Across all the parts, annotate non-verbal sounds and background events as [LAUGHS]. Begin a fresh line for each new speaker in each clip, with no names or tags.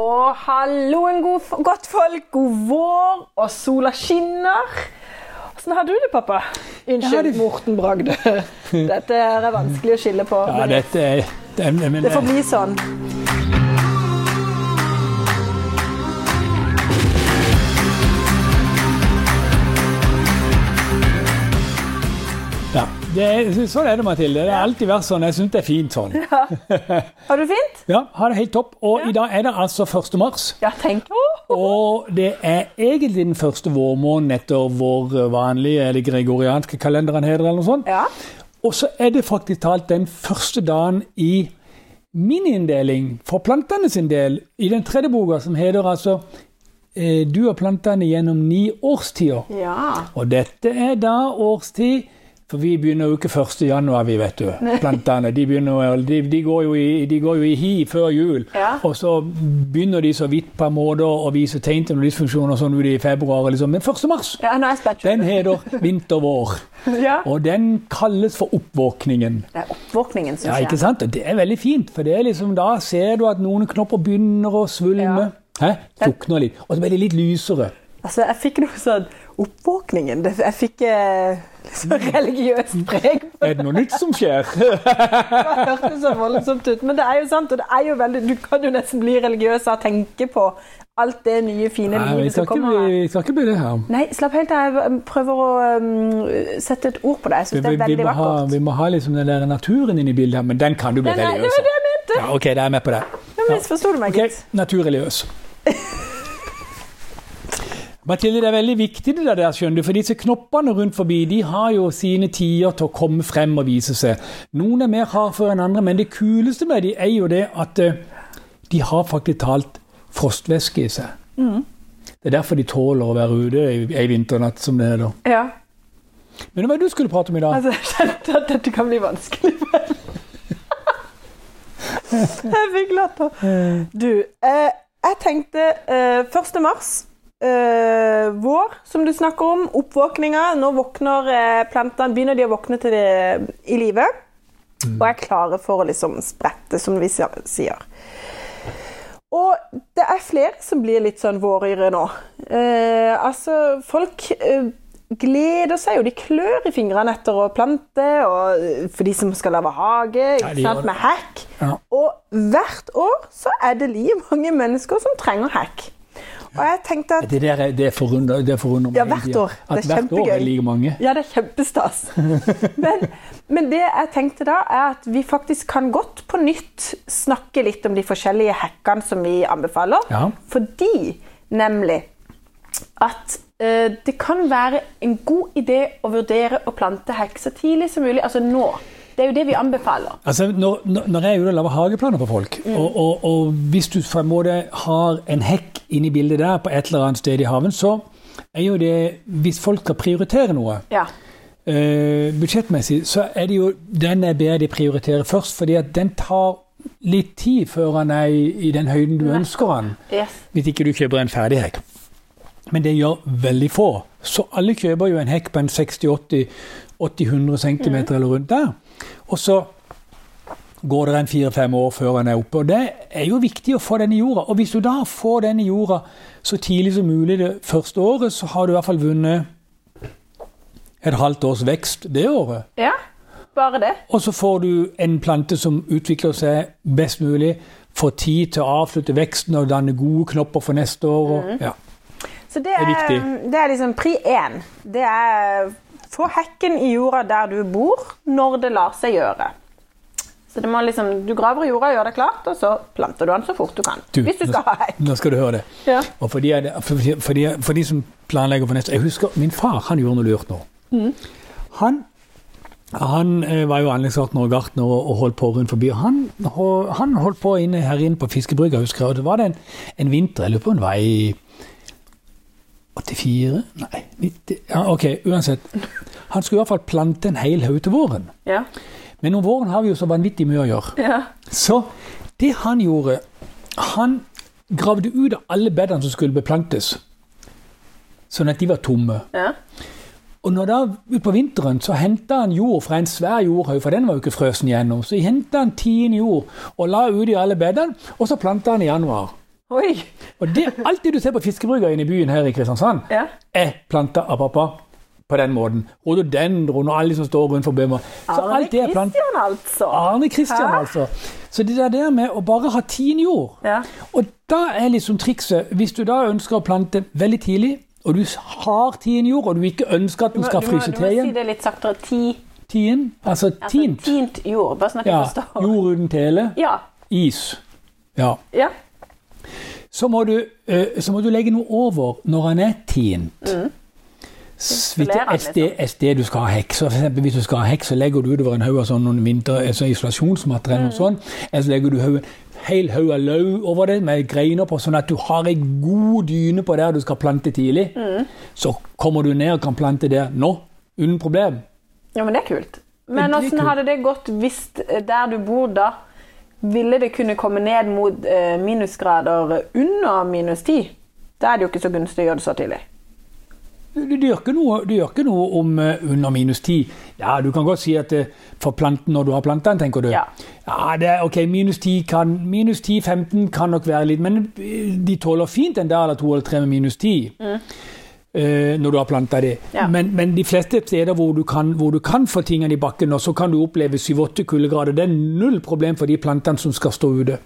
Og halloen, god, f- godt folk. God vår, og sola skinner. Åssen har du det, pappa?
har
Unnskyld,
det-
Morten Bragde. [LAUGHS] Dette her er vanskelig å skille på.
Ja, dette er det, men,
Det får bli sånn.
ja. det er, Sånn er det, Mathilde. Det har alltid vært sånn. Jeg syns det er fint sånn.
Har du det fint?
Ja, Ha det helt topp. Og i dag er det altså 1. mars.
Ja, tenk. Å,
Og det er egentlig den første vårmåneden etter vår vanlige eller gregorianske kalenderen heter eller noe sånt.
Ja.
Og så er det faktisk talt den første dagen i min inndeling for plantene sin del i den tredje boka, som heter altså eh, 'Du og plantene gjennom ni årstider'.
ja.
Og dette er da årstid For vi begynner jo ikke 1. januar, vi vet du.
[LAUGHS]
Plantene. De, begynner, jo- de, de, går jo i, de går jo i hi før jul.
Ja.
Og så begynner de så vidt på en måte å vise tegn til noen dysfunksjoner sånn ut i februar. Liksom. Men 1. mars,
ja nå er jeg spent.
den heter vintervår.
[LAUGHS] Ja.
Og den kalles for oppvåkningen.
Det er oppvåkningen, syns
Ja,
jeg.
ikke sant? Og det er veldig fint, for det er liksom, da ser du at noen knopper begynner å svulme. Hæ? Sukner litt. Og så blir de litt lysere.
Altså, jeg fikk noe sånn Oppvåkningen. Det- Jeg fikk eh, [LAUGHS] litt sånn
Mm.
religiøst preg. på
Er det noe nytt som skjer?
Det hørtes så voldsomt ut, men det er jo sant. Og det er jo veldig, du kan jo nesten bli religiøs av å tenke på alt det nye, fine
Nei, vi
livet som
skal ikke
kommer. her.
bli, vi skal ikke bli det her.
Nei, slapp helt av. Jeg prøver å um, sette et ord på det. Jeg
Vi,
syns det er
vi, vi,
veldig
må ha,
vakkert.
vi må ha liksom den der naturen inn i bildet, her, men den kan du bli
Nei, nei, det
religiøs
var
av.
det jeg mente.
Ja, OK, da er jeg med på det.
Nå misforsto du meg,
Ok,
gitt. [LAUGHS]
Naturreligiøs. Mathilde, det er veldig viktig det der, skjønner du, for disse knoppene rundt forbi de har jo sine tider til å komme frem og vise seg. Noen er mer hardføre enn andre, men det kuleste med de er jo det at eh, de har faktisk talt frostvæske i seg.
Mm.
Det er derfor de tåler å være ute ei ei vinternatt, som det heter.
Ja.
Men hva er det du skulle prate om i dag?
Altså, jeg kjente at dette kan bli vanskelig. men- jeg fikk latter. Du, eh, jeg tenkte eh, 1. mars, eh, vår, som du snakker om, oppvåkninga. Nå våkner eh, plantene, begynner de å våkne til det i live. Og er klare for å liksom sprette, som vi sa- sier. Og det er flere som blir litt sånn våryre nå. Eh, altså, folk eh, gleder seg jo. De klør i fingrene etter å plante, og eh, for de som skal lage hage,
Ja,
ikke
de gjør
sant,
det.
med hekk.
Ja.
Og hvert år så er det like mange mennesker som trenger hekk. Og jeg tenkte at
Det der er- det forundrer, det forundrer meg.
Ja, hvert
egentlig,
år.
At
Det er
hvert år er
kjempegøy.
like mange.
ja, det er kjempestas. Men, men det jeg tenkte da, er at vi faktisk kan godt på nytt snakke litt om de forskjellige hekkene som vi anbefaler.
Ja.
Fordi nemlig at eh, det kan være en god idé å vurdere å plante hekk så tidlig som mulig. Altså nå. Det er jo det vi anbefaler.
Altså, når, når når jeg er ute og lager hageplaner for folk,
Mm.
og, og, og hvis du på en måte har en hekk inne i bildet der på et eller annet sted i haven, så er jo det Hvis folk skal prioritere noe
Ja.
eh, budsjettmessig, så er det jo den jeg ber de prioritere først, fordi at den tar litt tid før han er i, i den høyden du ønsker han.
Yes.
Hvis ikke du kjøper en ferdig hekk. Men det gjør veldig få. Så alle kjøper jo en hekk på en 60-80-100 cm eller rundt der. Og så går det en fire-fem år før den er oppe. Og det er jo viktig å få den i jorda. Og hvis du da får den i jorda så tidlig som mulig det første året, så har du i hvert fall vunnet et halvt års vekst det året.
Ja, bare det.
Og så får du en plante som utvikler seg best mulig, får tid til å avslutte veksten og danne gode knopper for neste år.
Mm.
Og, ja.
Så det er, det er,
viktig.
liksom pri én. Det er eh, få hekken i jorda der du bor, når det lar seg gjøre. Så det må liksom, Du graver i jorda, gjør det klart, og så planter du den så fort du kan.
Du,
hvis du
nå-
skal ha hekk.
Nå skal du høre det.
Ja.
Og for de, er det- for, for, de, for de som planlegger for neste Jeg husker min far han gjorde noe lurt nå. Han, han eh, var jo anleggsgartner og gartner og, og holdt på rundt forbi. og Han, ho- han holdt på inne her inne på fiskebrygga, husker jeg. Og det var det en, en vinter, jeg lurer på om den var i 84? Nei, 90 ja, OK, uansett. Han skulle i hvert fall plante en hel haug til våren.
Ja.
Men om våren har vi jo så vanvittig mye å gjøre.
Ja.
Så det han gjorde Han gravde ut av alle bedene som skulle beplantes, sånn at de var tomme.
ja.
Og når da utpå vinteren så henta han jord fra en svær jordhaug, for den var jo ikke frøsen gjennom, så henta han tiende jord og la ut i alle bedene, og så planta han i januar.
Oi!
Og det er alltid du ser på fiskebruker inne i byen her i Kristiansand,
Ja.
er planta av pappa på den måten. Rododendron og alle som står rundt for bømmer. Så
Arne
alt det er planta.
Christian, altså.
Arne Kristian,
Hæ?
altså. Så det der, der med å bare ha tin jord
Ja.
Og da er liksom trikset Hvis du da ønsker å plante veldig tidlig, og du har tin jord, og du ikke ønsker at den skal fryse
Du må,
til
du må si
igjen
det litt saktere. Ti,
Tien, altså
altså,
tint.
tint jord. Bare sånn at
Ja,
jeg forstår.
jord uten tele.
Ja.
Is. Ja.
ja.
Så må du, eh, så må du legge noe over når han er tint. S- Hvis det
Isolere
er
han,
et sted, et sted du skal ha hekk, så for eksempel hvis du skal ha hekk, så legger du utover en haug av sånn noen vinter, eh, sånn isolasjonsmateriell og sånn, eller så legger du haugen- hel haug av løv over det med greiner på, sånn at du har ei god dyne på der du skal plante tidlig. Så kommer du ned og kan plante der nå, uten problem.
Ja, men det er kult. Men
det er
åssen
kult.
hadde det gått hvis eh, der du bor da, ville det kunne komme ned mot eh, minusgrader under minus 10? Da er det jo ikke så gunstig å gjøre det så tidlig.
Du, du, gjør ikke noe, du gjør ikke noe om eh, under minus 10. Ja, du kan godt si at eh, for planten når du har planta den, tenker du.
Ja.
Ja, det er, ok, minus 10 kan, minus 10-15 kan nok være litt, men eh, de tåler fint en dag eller to eller tre med minus 10. eh, når du har planta det.
Mm. Ja.
Men, men de fleste steder hvor du kan, hvor du kan få tingene i bakken, og så kan du oppleve 7-8 kuldegrader. Det er null problem for de plantene som skal stå ute.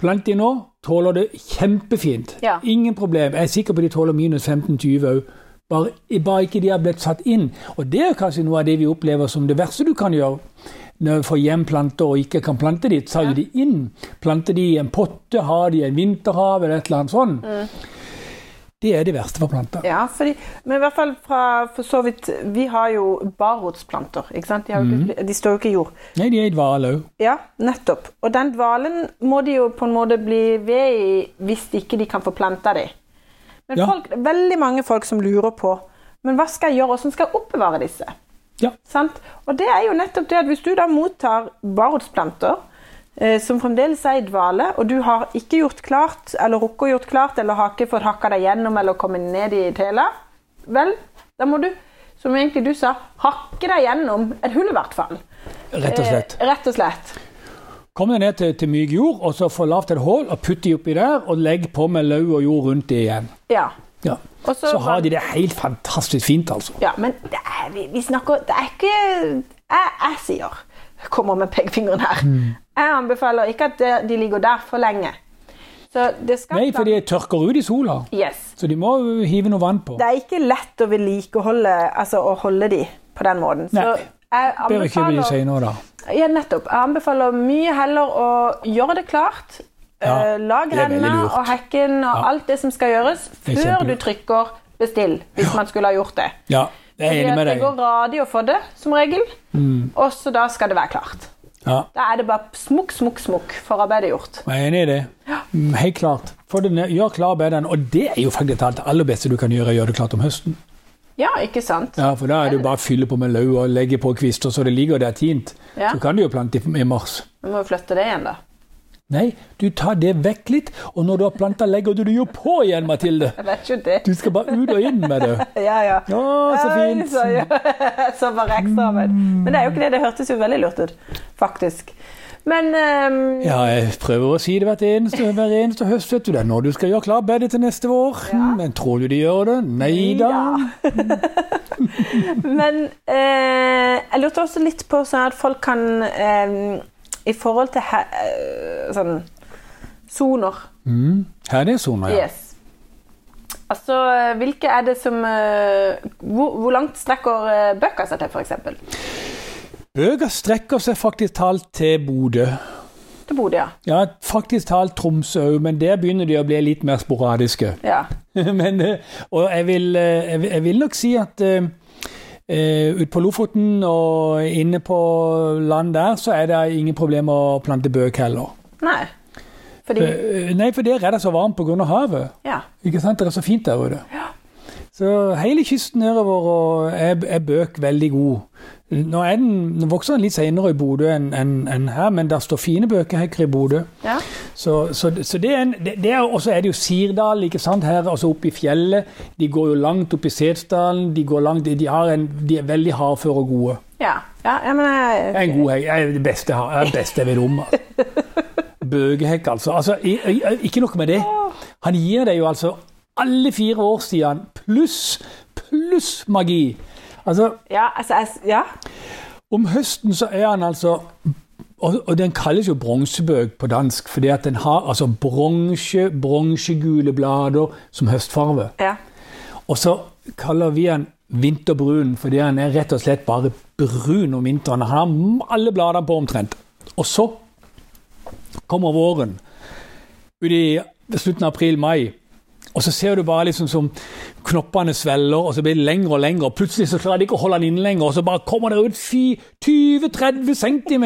Plant de nå, tåler det kjempefint.
Ja.
Ingen problem. Jeg er sikker på de tåler minus 15-20 òg. Bare, bare ikke de har blitt satt inn. Og det er jo kanskje noe av det vi opplever som det verste du kan gjøre. Når du får hjem planter og ikke kan plante de, tar jo de inn. Planter de i en potte, har de i en vinterhav eller et eller annet sånt. Det er det verste for planter.
Mm. Ja, fordi, men i hvert fall fra for så vidt Vi har jo barrotsplanter, ikke sant? De, har jo ikke, de står jo ikke i jord.
Nei, de er i dvale òg.
Ja, nettopp. Og den dvalen må de jo på en måte bli ved i hvis ikke de kan få planta de. Men
Ja.
folk, det er veldig mange folk som lurer på Men hva skal jeg gjøre, hvordan skal jeg oppbevare disse?
Ja.
Sant? Og det er jo nettopp det at hvis du da mottar barotsplanter, eh, som fremdeles er i dvale, og du har ikke gjort klart, eller rukket å gjort klart, eller har ikke fått hakka deg gjennom, eller kommet ned i tela, vel, da må du, som egentlig du sa, hakke deg gjennom et hull i hvert fall.
Rett og slett.
Eh, rett og slett.
Kom deg ned til, til myk jord, og så få lavt et hull, og putt de oppi der, og legg på med løv og jord rundt det igjen.
Ja.
Ja.
Og så-
så har de det helt fantastisk fint, altså.
ja men det er, vi, vi snakker Det er ikke Jeg, jeg sier Kommer med pekefingeren her.
Mm.
Jeg anbefaler ikke at det- de ligger der for lenge. Så det skal
Nei, for de tørker ut i sola.
Yes.
Så de må jo hive noe vann på.
Det er ikke lett å vedlikeholde Altså å holde de på den måten. Så
Nei.
jeg
Bør ikke bli
anbefaler
senere, da.
Ja, nettopp. Jeg anbefaler mye heller å gjøre det klart.
Ja,
Eh, Lag
det er veldig
renna
lurt.
og hekken og alt det som skal gjøres,
er
før du
kjempelurt.
trykker 'bestill', hvis man skulle ha gjort det.
Ja, jeg er
Fordi
enig
at
med
det
deg.
går
Mm.
radig å få det, som regel. Og så da skal det være klart.
Ja,
Da er det bare smukk, smukk, smukk. Forarbeidet gjort.
jeg er enig i det. Mm, Helt klart. Få det ned, gjør klar bedre enn Og det er jo faktisk alt det aller beste du kan gjøre, gjør det klart om høsten.
Ja, ikke sant?
Ja, For da er det jo bare å fylle på med løv og legge på kvister så det ligger der tint.
Ja.
Så kan du jo plante i i mars.
Vi må jo flytte det igjen, da.
Nei, du tar det vekk litt, og når du har planta, legger du det jo på igjen, Mathilde.
Jeg vet ikke det.
Du skal bare ut og inn med det.
Ja, ja.
Å, så
Oi,
fint. Mm.
Så, ja. så bare ekstraarbeid. Men det er jo ikke det. Det hørtes jo veldig lurt ut, faktisk. Men ehm,
Ja, jeg prøver å si det hvert eneste, hver eneste høst, vet du. Det er når du skal gjøre klar bedet til neste vår. Men tror du de gjør det? Nei da.
Men eh, jeg lurte også litt på sånn at folk kan eh, I forhold til he, eh, sånn soner.
Mm. Her er det soner, ja.
Yes. Altså, eh, hvilke er det som eh, hvor, hvor langt strekker eh, bøker seg til, f.eks.?
Bøker strekker seg faktisk talt til Bodø.
Til Bodø, ja.
Ja, faktisk talt Tromsø òg, men der begynner de å bli litt mer sporadiske. [LAUGHS]
ja.
Men, eh, og jeg vil, eh, jeg vil- jeg vil nok si at eh, eh, ut på Lofoten og inne på land der, så er det ingen problemer å plante bøk heller.
Nei. Fordi
Eh, Nei, for der er det så varmt pga. havet.
Ja.
Ikke sant? Det er så fint der ute. Så hele kysten nedover og er, er bøk veldig god. Nå, er den, nå vokser den litt senere i Bodø enn enn- enn her, men der står fine bøkehekker i Bodø.
ja.
Så, så, så det er en, det, det er, og så er det jo Sirdal, ikke sant, her, altså oppe i fjellet. De går jo langt opp i Setesdalen. De, går langt, de, de, har en, de er veldig hardføre og gode.
Ja. ja, ja men jeg,
Jeg er en god hei. Jeg er det beste, jeg har- jeg er det beste jeg vet om. altså. bøgehekk, altså. altså i- i- ikke noe med det. Han gir deg jo altså alle fire årstidene pluss, pluss magi. Altså,
Ja, altså jeg, s- ja.
om høsten så er han altså og, og den kalles jo bronsebøg på dansk, fordi at den har altså bronse, bronsegule blader som høstfarve.
ja.
Og så kaller vi han vinterbrun, fordi han er rett og slett bare brun om vinteren. Han har m- alle bladene på omtrent. Og så kommer våren ut i slutten av april-mai. Og så ser du bare liksom som knoppene svelger, og så blir det lengre og lengre. Og plutselig så klarer de ikke å holde den inne lenger, og så bare kommer det ut fi- 20-30 cm.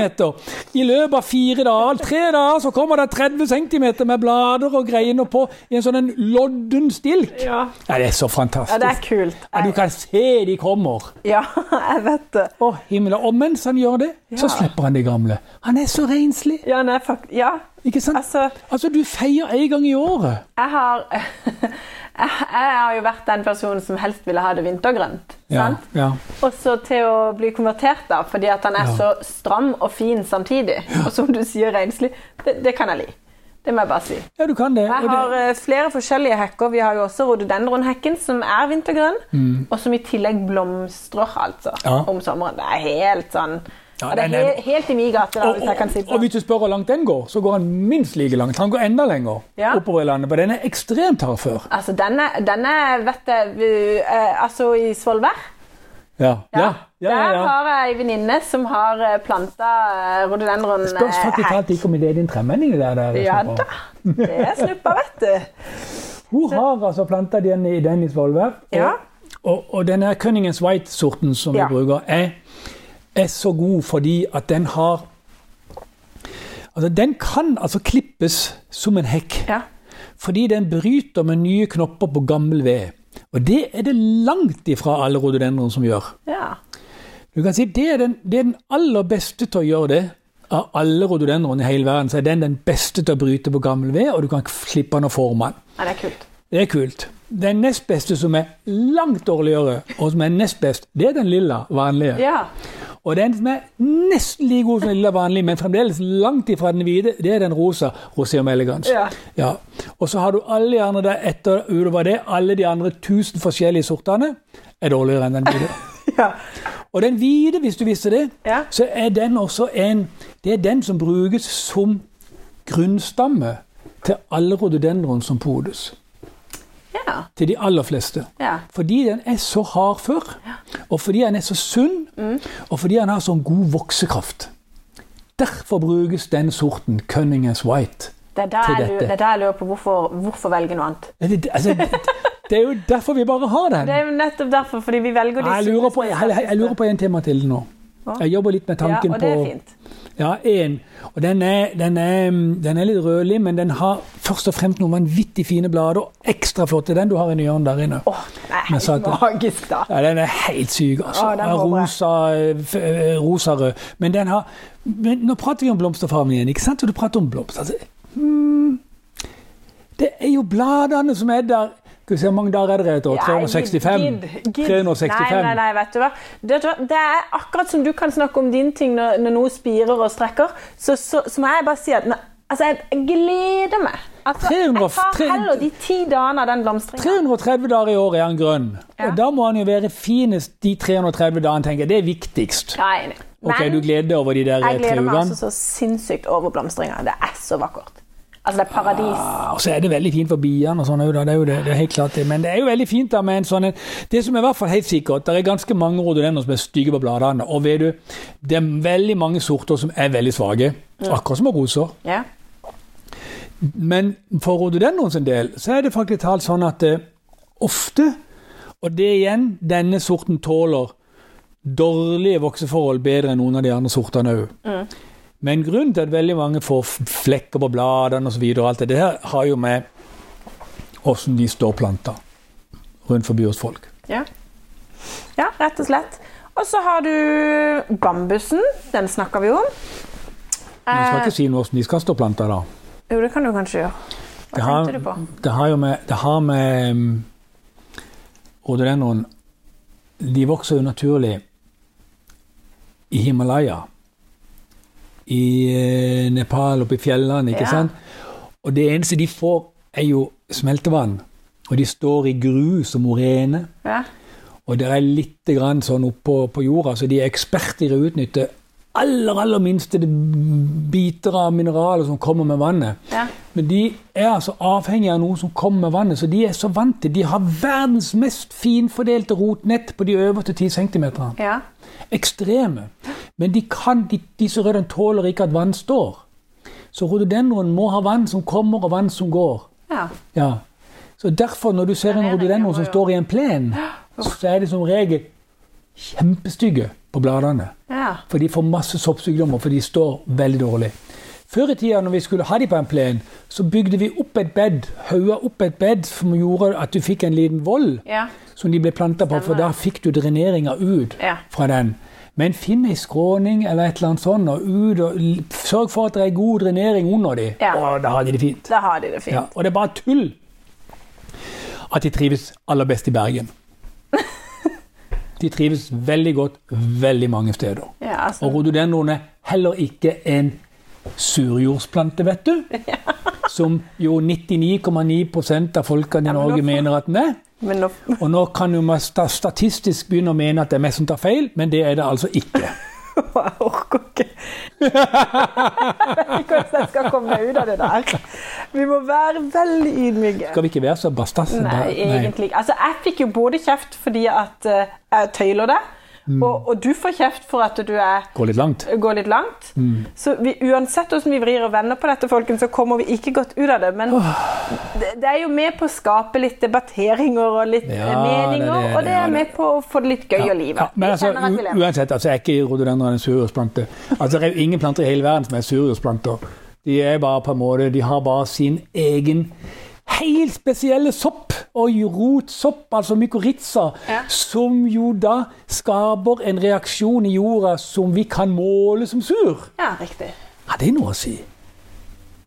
I løpet av fire dager, tre dager, så kommer det 30 cm med blader og greiner på i en sånn en lodden stilk.
Ja.
Ja, det er så fantastisk.
ja, det er kult.
Ja, du kan se de kommer.
Ja, [LAUGHS] jeg vet det.
Å, himmelen. Og mens han gjør det, så
Ja.
slipper han de gamle. Han er så renslig.
Ja, nei, fakt ja.
Ikke sant?
altså
Altså, du feier en gang i året.
jeg har, [LAUGHS] jeg, jeg har jo vært den personen som helst ville ha det vintergrønt. sant?
ja.
Og så til å bli konvertert, da, fordi at han er
Ja.
så stram og fin samtidig. Og som du sier, renslig. Det, det kan jeg li. Det må jeg bare si.
Ja, du kan det. Og
Jeg har
det
eh, flere forskjellige hekker. Vi har jo også rododendronhekken, som er vintergrønn, og som i tillegg blomstrer altså,
Mm. Ja.
om sommeren. Det er helt sånn
Ja,
ja, Det
nei,
er
nei.
he helt i min gate, da,
og,
hvis jeg kan si
og,
det
og
sånn.
hvis du spør hvor langt den går, så går han minst like langt. Han går enda lenger
Ja.
oppover i landet, for den er ekstremt hard før.
Altså, denne, denne vet jeg vi- eh, Altså, i Svolvær
Ja. Ja. Ja, ja,
Der
ja.
har jeg ei venninne som har eh, planta eh, rododendron
Spørs
eh,
faktisk
her.
alt ikke om det er din tremenning der. der
Ja
Snuppa.
da. Det er snuppa, vet
[LAUGHS]
du.
Hun har altså planta den i den i Svolvær. og-
Ja.
Og, og denne Cunningham's White-sorten som
Ja.
vi bruker, er, er så god fordi at den har Altså, den kan altså klippes som en hekk.
Ja.
Fordi den bryter med nye knopper på gammel ved. Og det er det langt ifra alle rododendron som gjør.
ja.
Du kan si det er den, det er den aller beste til å gjøre det. Av alle rododendron i hele verden så er den den beste til å bryte på gammel ved, og du kan klippe den og forme den.
Nei, det er kult.
Det er kult. Den nest beste som er langt dårligere, og som er nest best, det er den lilla vanlige.
Ja.
Og den som er nesten like god som den lilla vanlige, men fremdeles langt ifra den hvite, det er den rosa Roseum elegans.
Ja.
Ja. Og så har du alle de andre der etter utover det, alle de andre tusen forskjellige sortene er dårligere enn
[LAUGHS]
den hvite.
ja.
Og den hvite, hvis du visste det,
Ja.
så er den også en Det er den som brukes som grunnstamme til alle rododendron som podes.
Ja.
Til de aller fleste.
ja.
Fordi den er så hard før, og fordi den er så sunn,
Mm.
og fordi den har sånn god voksekraft. Derfor brukes den sorten Cunningham's White.
Det er da
Til
jeg lurer-
dette.
det er da jeg lurer på hvorfor, hvorfor velge noe annet.
Er Det, altså, det er jo derfor vi bare har den.
Det er jo nettopp derfor, fordi vi velger de
Jeg lurer på, jeg, jeg, jeg lurer på en tema til nå.
Hva?
Jeg jobber litt med tanken
ja, og det er
på
fint.
Ja, en. Og den er, den, er, mm, den er litt rødlig, men den har først og fremst noen vanvittig fine blader. og Ekstra flott er den du har inni hjørnet der inne.
Åh, det er
Men så
helt
at-
magisk, da.
Ja, den er helt syk, altså.
Å, den
Ja,
håper jeg.
rosa, eh, f- eh, rosarød. Men den har men Nå prater vi om blomsterfargen igjen, ikke sant? Og du prater om blomster. Altså, hmm, det er jo bladene som er der. Skal vi se, hvor mange dager er det et år?
Ja,
365?
gidd, gidd.
365.
Nei, nei, nei, vet du hva. Det, det er akkurat som du kan snakke om din ting når, når noe spirer og strekker, så, så, så må jeg bare si at nei, altså, jeg gleder meg. Altså, jeg
300
tar heller de ti dagene av den blomstringen.
330 dager i året er han grønn.
Ja.
Og da må han jo være finest de 330 dagene, tenker jeg. Det er viktigst.
Ja, jeg er enig.
Ok, du gleder deg over de der eh,
jeg
tre
gleder meg
ukene.
altså så sinnssykt over blomstringa. Det er så vakkert. Altså, det er paradis.
Ja, Og så er det veldig fint for biene og sånn òg, da. Det er jo det, det er helt klart det. Men det er jo veldig fint da med en sånn en Det som er i hvert fall helt sikkert, det er ganske mange rododendron som er stygge på bladene. Og vet du, det er veldig mange sorter som er veldig svake. Akkurat som med roser.
Ja.
Men for rododendron sin del så er det faktisk talt sånn at eh, ofte, og det igjen, denne sorten tåler dårlige vokseforhold bedre enn noen av de andre sortene òg. Men grunnen til at veldig mange får f- flekker på bladene osv., alt det der, har jo med åssen de står planta rundt forbi hos folk.
ja. Ja, rett og slett. Og så har du bambusen. Den snakker vi om.
Men jeg skal
Eh,
ikke si noe åssen de skal stå planta, da.
jo, det kan du kanskje gjøre. Hva
Det har-
tenkte du på?
Det har jo med, det har med um, rododendron De vokser jo naturlig i Himalaya. i eh, Nepal, oppe i fjellene. ikke
Ja.
sant? Og det eneste de får, er jo smeltevann. Og de står i grus og morene.
Ja.
Og det er litt grann sånn oppå på jorda, så de er eksperter i å utnytte aller, aller minste biter av mineraler som kommer med vannet.
Ja.
Men de er altså avhengig av noe som kommer med vannet, så de er så vant til De har verdens mest finfordelte rotnett på de øverste 10 cm.
ja.
Ekstreme. Men de kan, de, disse røddene tåler ikke at vann står. Så rhododendron må ha vann som kommer, og vann som går.
ja.
Ja. Så derfor, når du ser en
er det,
rhododendron som
ja, ja.
står i en plen, så er de som regel kjempestygge på bladene.
ja.
For de får masse soppsykdommer, for de står veldig dårlig. Før i tida, når vi skulle ha de på en plen, så bygde vi opp et bed, haua opp et bed som gjorde at du fikk en liten vold
Ja.
som de ble planta på, for da fikk du dreneringa ut
Ja.
fra den. Men finn ei skråning eller et eller annet sånt, og ut, og l- sørg for at det er god drenering under de.
Ja.
Og da har de det fint.
Da har de det fint.
Ja, og det er bare tull at de trives aller best i
[LAUGHS]
Bergen. De trives veldig godt veldig mange steder.
Ja, altså.
Og rhododendron er heller ikke en surjordsplante, vet
[LAUGHS]
du. Som jo 99,9 av folkene i
men
Norge
nå får-
mener at den er.
Men nå [LAUGHS]
Og nå kan jo man sta- statistisk begynne å mene at det er meg som tar feil, men det er det altså ikke.
Jeg orker ikke. Jeg vet ikke hvordan jeg skal komme meg ut av det der. Vi må være veldig ydmyke.
Skal vi ikke være så bastas?
Nei, egentlig ikke. Altså, jeg fikk jo både kjeft fordi at eh, jeg tøyler det,
Mm.
og, og du får kjeft for at du er
Gå litt langt.
går litt langt.
Mm.
Så vi, uansett hvordan vi vrir og vender på dette, folkens, så kommer vi ikke godt ut av det. Men det, det er jo med på å skape litt debatteringer og litt
Ja,
eh, meninger,
det er det,
og det
det er
er med på å få det litt gøy i livet.
Ja, men altså,
jeg kjenner at vi
u-
lever.
uansett, altså, jeg er ikke rhododendron en surjordsplante. Altså, det er jo ingen planter i hele verden som er surjordsplanter. De er bare på en måte, de har bare sin egen helt spesielle sopp, og rotsopp, altså mykorrhiza,
Ja.
som jo da skaper en reaksjon i jorda som vi kan måle som sur.
Ja, riktig.
Har det noe å si?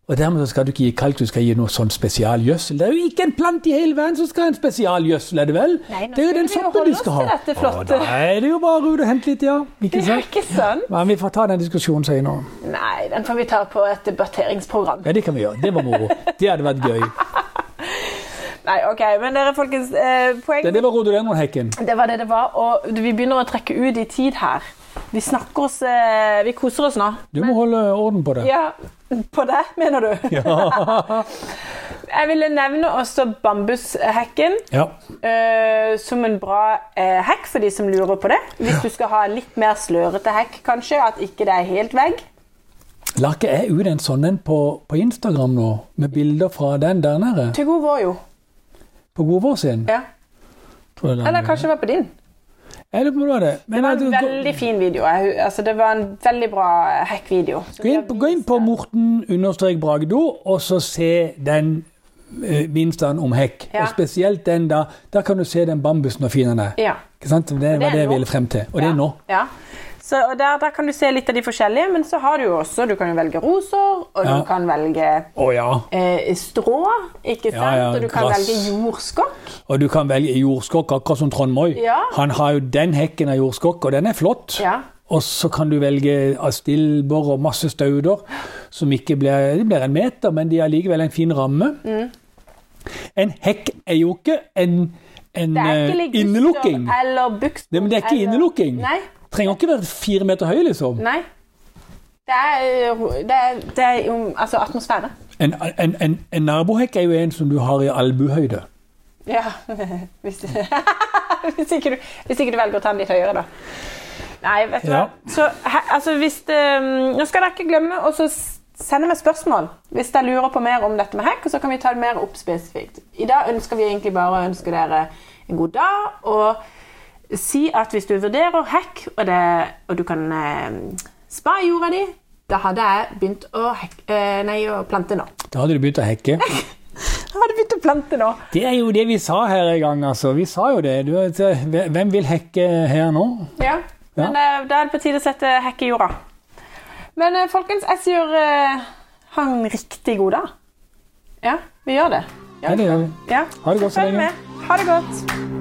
Og dermed så skal du ikke gi kalk, du skal gi noe sånn spesialgjødsel. Det er jo ikke en plante i hele verden som skal ha en spesialgjødsel, er det vel?
Nei, nå
det er jo
skulle
den
vi jo
soppen
holde
du skal ha.
oss til dette flotte.
Å, da er det jo bare ut og hente litt, ja. Ikke
Det er
sant?
ikke sånn.
Men vi får ta den diskusjonen senere.
Nei, den får vi ta på et debatteringsprogram.
Ja, det kan vi gjøre. Det var moro. Det hadde vært gøy.
Nei, ok, men dere folkens, eh, poeng
Det, det var rhododendronhekken.
Det var det det var, og vi begynner å trekke ut i tid her. Vi snakker oss eh, Vi koser oss nå.
Du må holde orden på det.
Ja, på det, mener du?
Ja.
[LAUGHS] Jeg ville nevne også bambushekken
ja.
eh, som en bra eh, hekk for de som lurer på det. Hvis du skal ha en litt mer slørete hekk, kanskje, at ikke det er helt vegg.
La ikke jeg ut en sånn en på, på Instagram nå, med bilder fra den der nede?
Til god vår, jo.
På Godvår sin?
Ja.
Tror jeg den-
Eller kanskje det var på din.
Jeg lurer på om det var det. Men altså,
Det var
at
en
du-
veldig fin video. Jeg- Altså, det var en veldig bra hekkvideo. Så
Gå inn, på- gå inn på Morten understrek Bragdo, og så se den eh, minstaen om hekk.
Ja.
Og spesielt den da. Da kan du se den bambusen og fin den er.
Ja.
Ikke sant? Det var det
nå.
jeg ville frem til. Og det
Ja,
er nå.
Ja. Så og der, der kan du se litt av de forskjellige, men så har du jo også Du kan jo velge roser, og
Ja.
du kan velge
Å ja.
eh, strå, ikke sant?
ja,
og du kan
gress.
velge jordskokk.
Og du kan velge jordskokk, akkurat som Trond Moi.
Ja.
Han har jo den hekken av jordskokk, og den er flott.
Ja.
Og så kan du velge astilber og masse stauder, som ikke blir, de blir en meter, men de har likevel en fin ramme.
Mm.
En hekk er jo ikke en, en
Det er
eh,
ikke liguster
innelukking.
eller buksbom.
Nei, men det er ikke
eller-
innelukking.
Nei.
Trenger ikke være fire meter høy, liksom.
nei. Det er, eh, ro- det er, det er jo altså atmosfære.
En, en, en, en nabohekk er jo en som du har i albuhøyde.
Ja. [LAUGHS] Hvis, [LAUGHS] hvis, ikke du, hvis ikke du velger å ta den litt høyere, da. Nei, vet du
Ja.
hva. Så he- altså, hvis det, Nå skal dere ikke glemme å så s- sende meg spørsmål hvis dere lurer på mer om dette med hekk, og så kan vi ta det mer opp spesifikt. I dag ønsker vi egentlig bare å ønske dere en god dag og si at hvis du vurderer hekk, og, det, og du kan eh, spa jorda di, da hadde jeg begynt å, hekk, eh, nei, å plante nå.
Da hadde du begynt å hekke.
Jeg hadde begynt å plante nå.
Det er jo det vi sa her en gang, altså. Vi sa jo det. Du, vet, hvem vil hekke her nå?
Ja, men eh, da er det på tide å sette hekk i jorda. Men eh, folkens, jeg sier eh, ha en riktig god dag. Ja, vi gjør det.
Ja, det gjør vi.
Ja.
Ha det godt så
Følg
lenge.
med. Ha det godt.